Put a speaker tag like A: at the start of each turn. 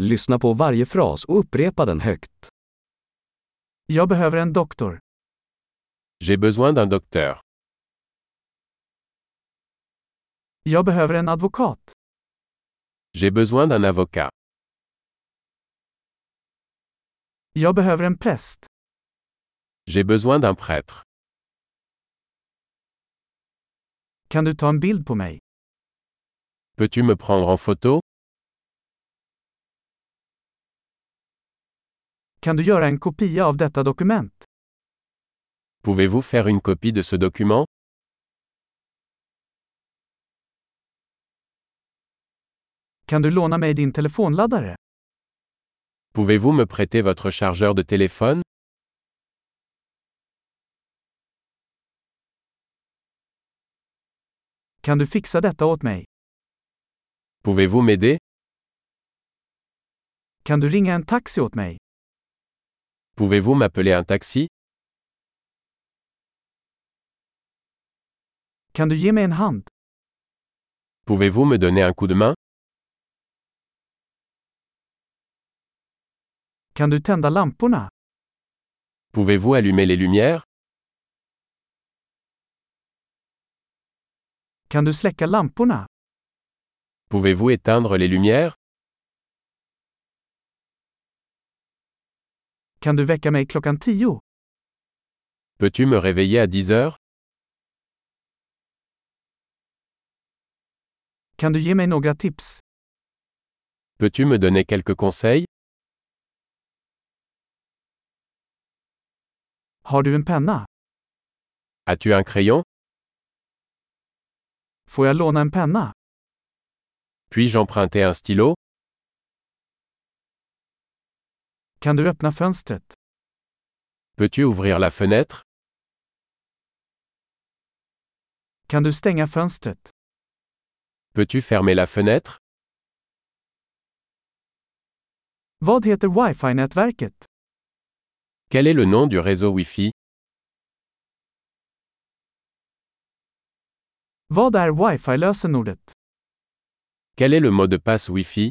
A: Lyssna på varje fras och upprepa den högt.
B: Jag behöver en doktor.
C: J'ai besoin d'un docteur.
B: Jag behöver en advokat.
C: J'ai besoin d'un avocat.
B: Jag behöver en präst.
C: J'ai besoin d'un prêtre.
B: Kan du ta en bild på mig?
C: Peux-tu me prendre en photo
B: Kan du göra en kopia av detta dokument?
C: Pouvez-vous faire une copie de ce document
B: Kan du låna mig din telefonladdare?
C: Pouvez-vous me prêter votre chargeur de téléphone
B: Kan du fixa detta åt mig?
C: Pouvez-vous m'aider
B: Kan du ringa en taxi åt mig?
C: Pouvez-vous m'appeler un taxi
B: Kan du ge mig en hand?
C: Pouvez-vous me donner un coup de main
B: Kan du tända lamporna?
C: Pouvez-vous allumer les lumières
B: Kan du släcka lamporna?
C: Pouvez-vous éteindre les lumières
B: Kan du väcka mig klockan tio?
C: Peux-tu me réveiller à 10 heures
B: Kan du ge mig några tips?
C: Peux-tu me donner quelques conseils
B: Har du en penna?
C: As-tu un crayon
B: Får jag låna en penna?
C: Puis-je emprunter un stylo
B: Kan du öppna fönstret?
C: Peux-tu ouvrir la fenêtre
B: Kan du stänga fönstret?
C: Peux-tu fermer la fenêtre
B: Vad heter wifi-nätverket?
C: Quel est le nom du réseau Wi-Fi
B: Vad är wifi-lösenordet?
C: Quel est le mot de passe Wi-Fi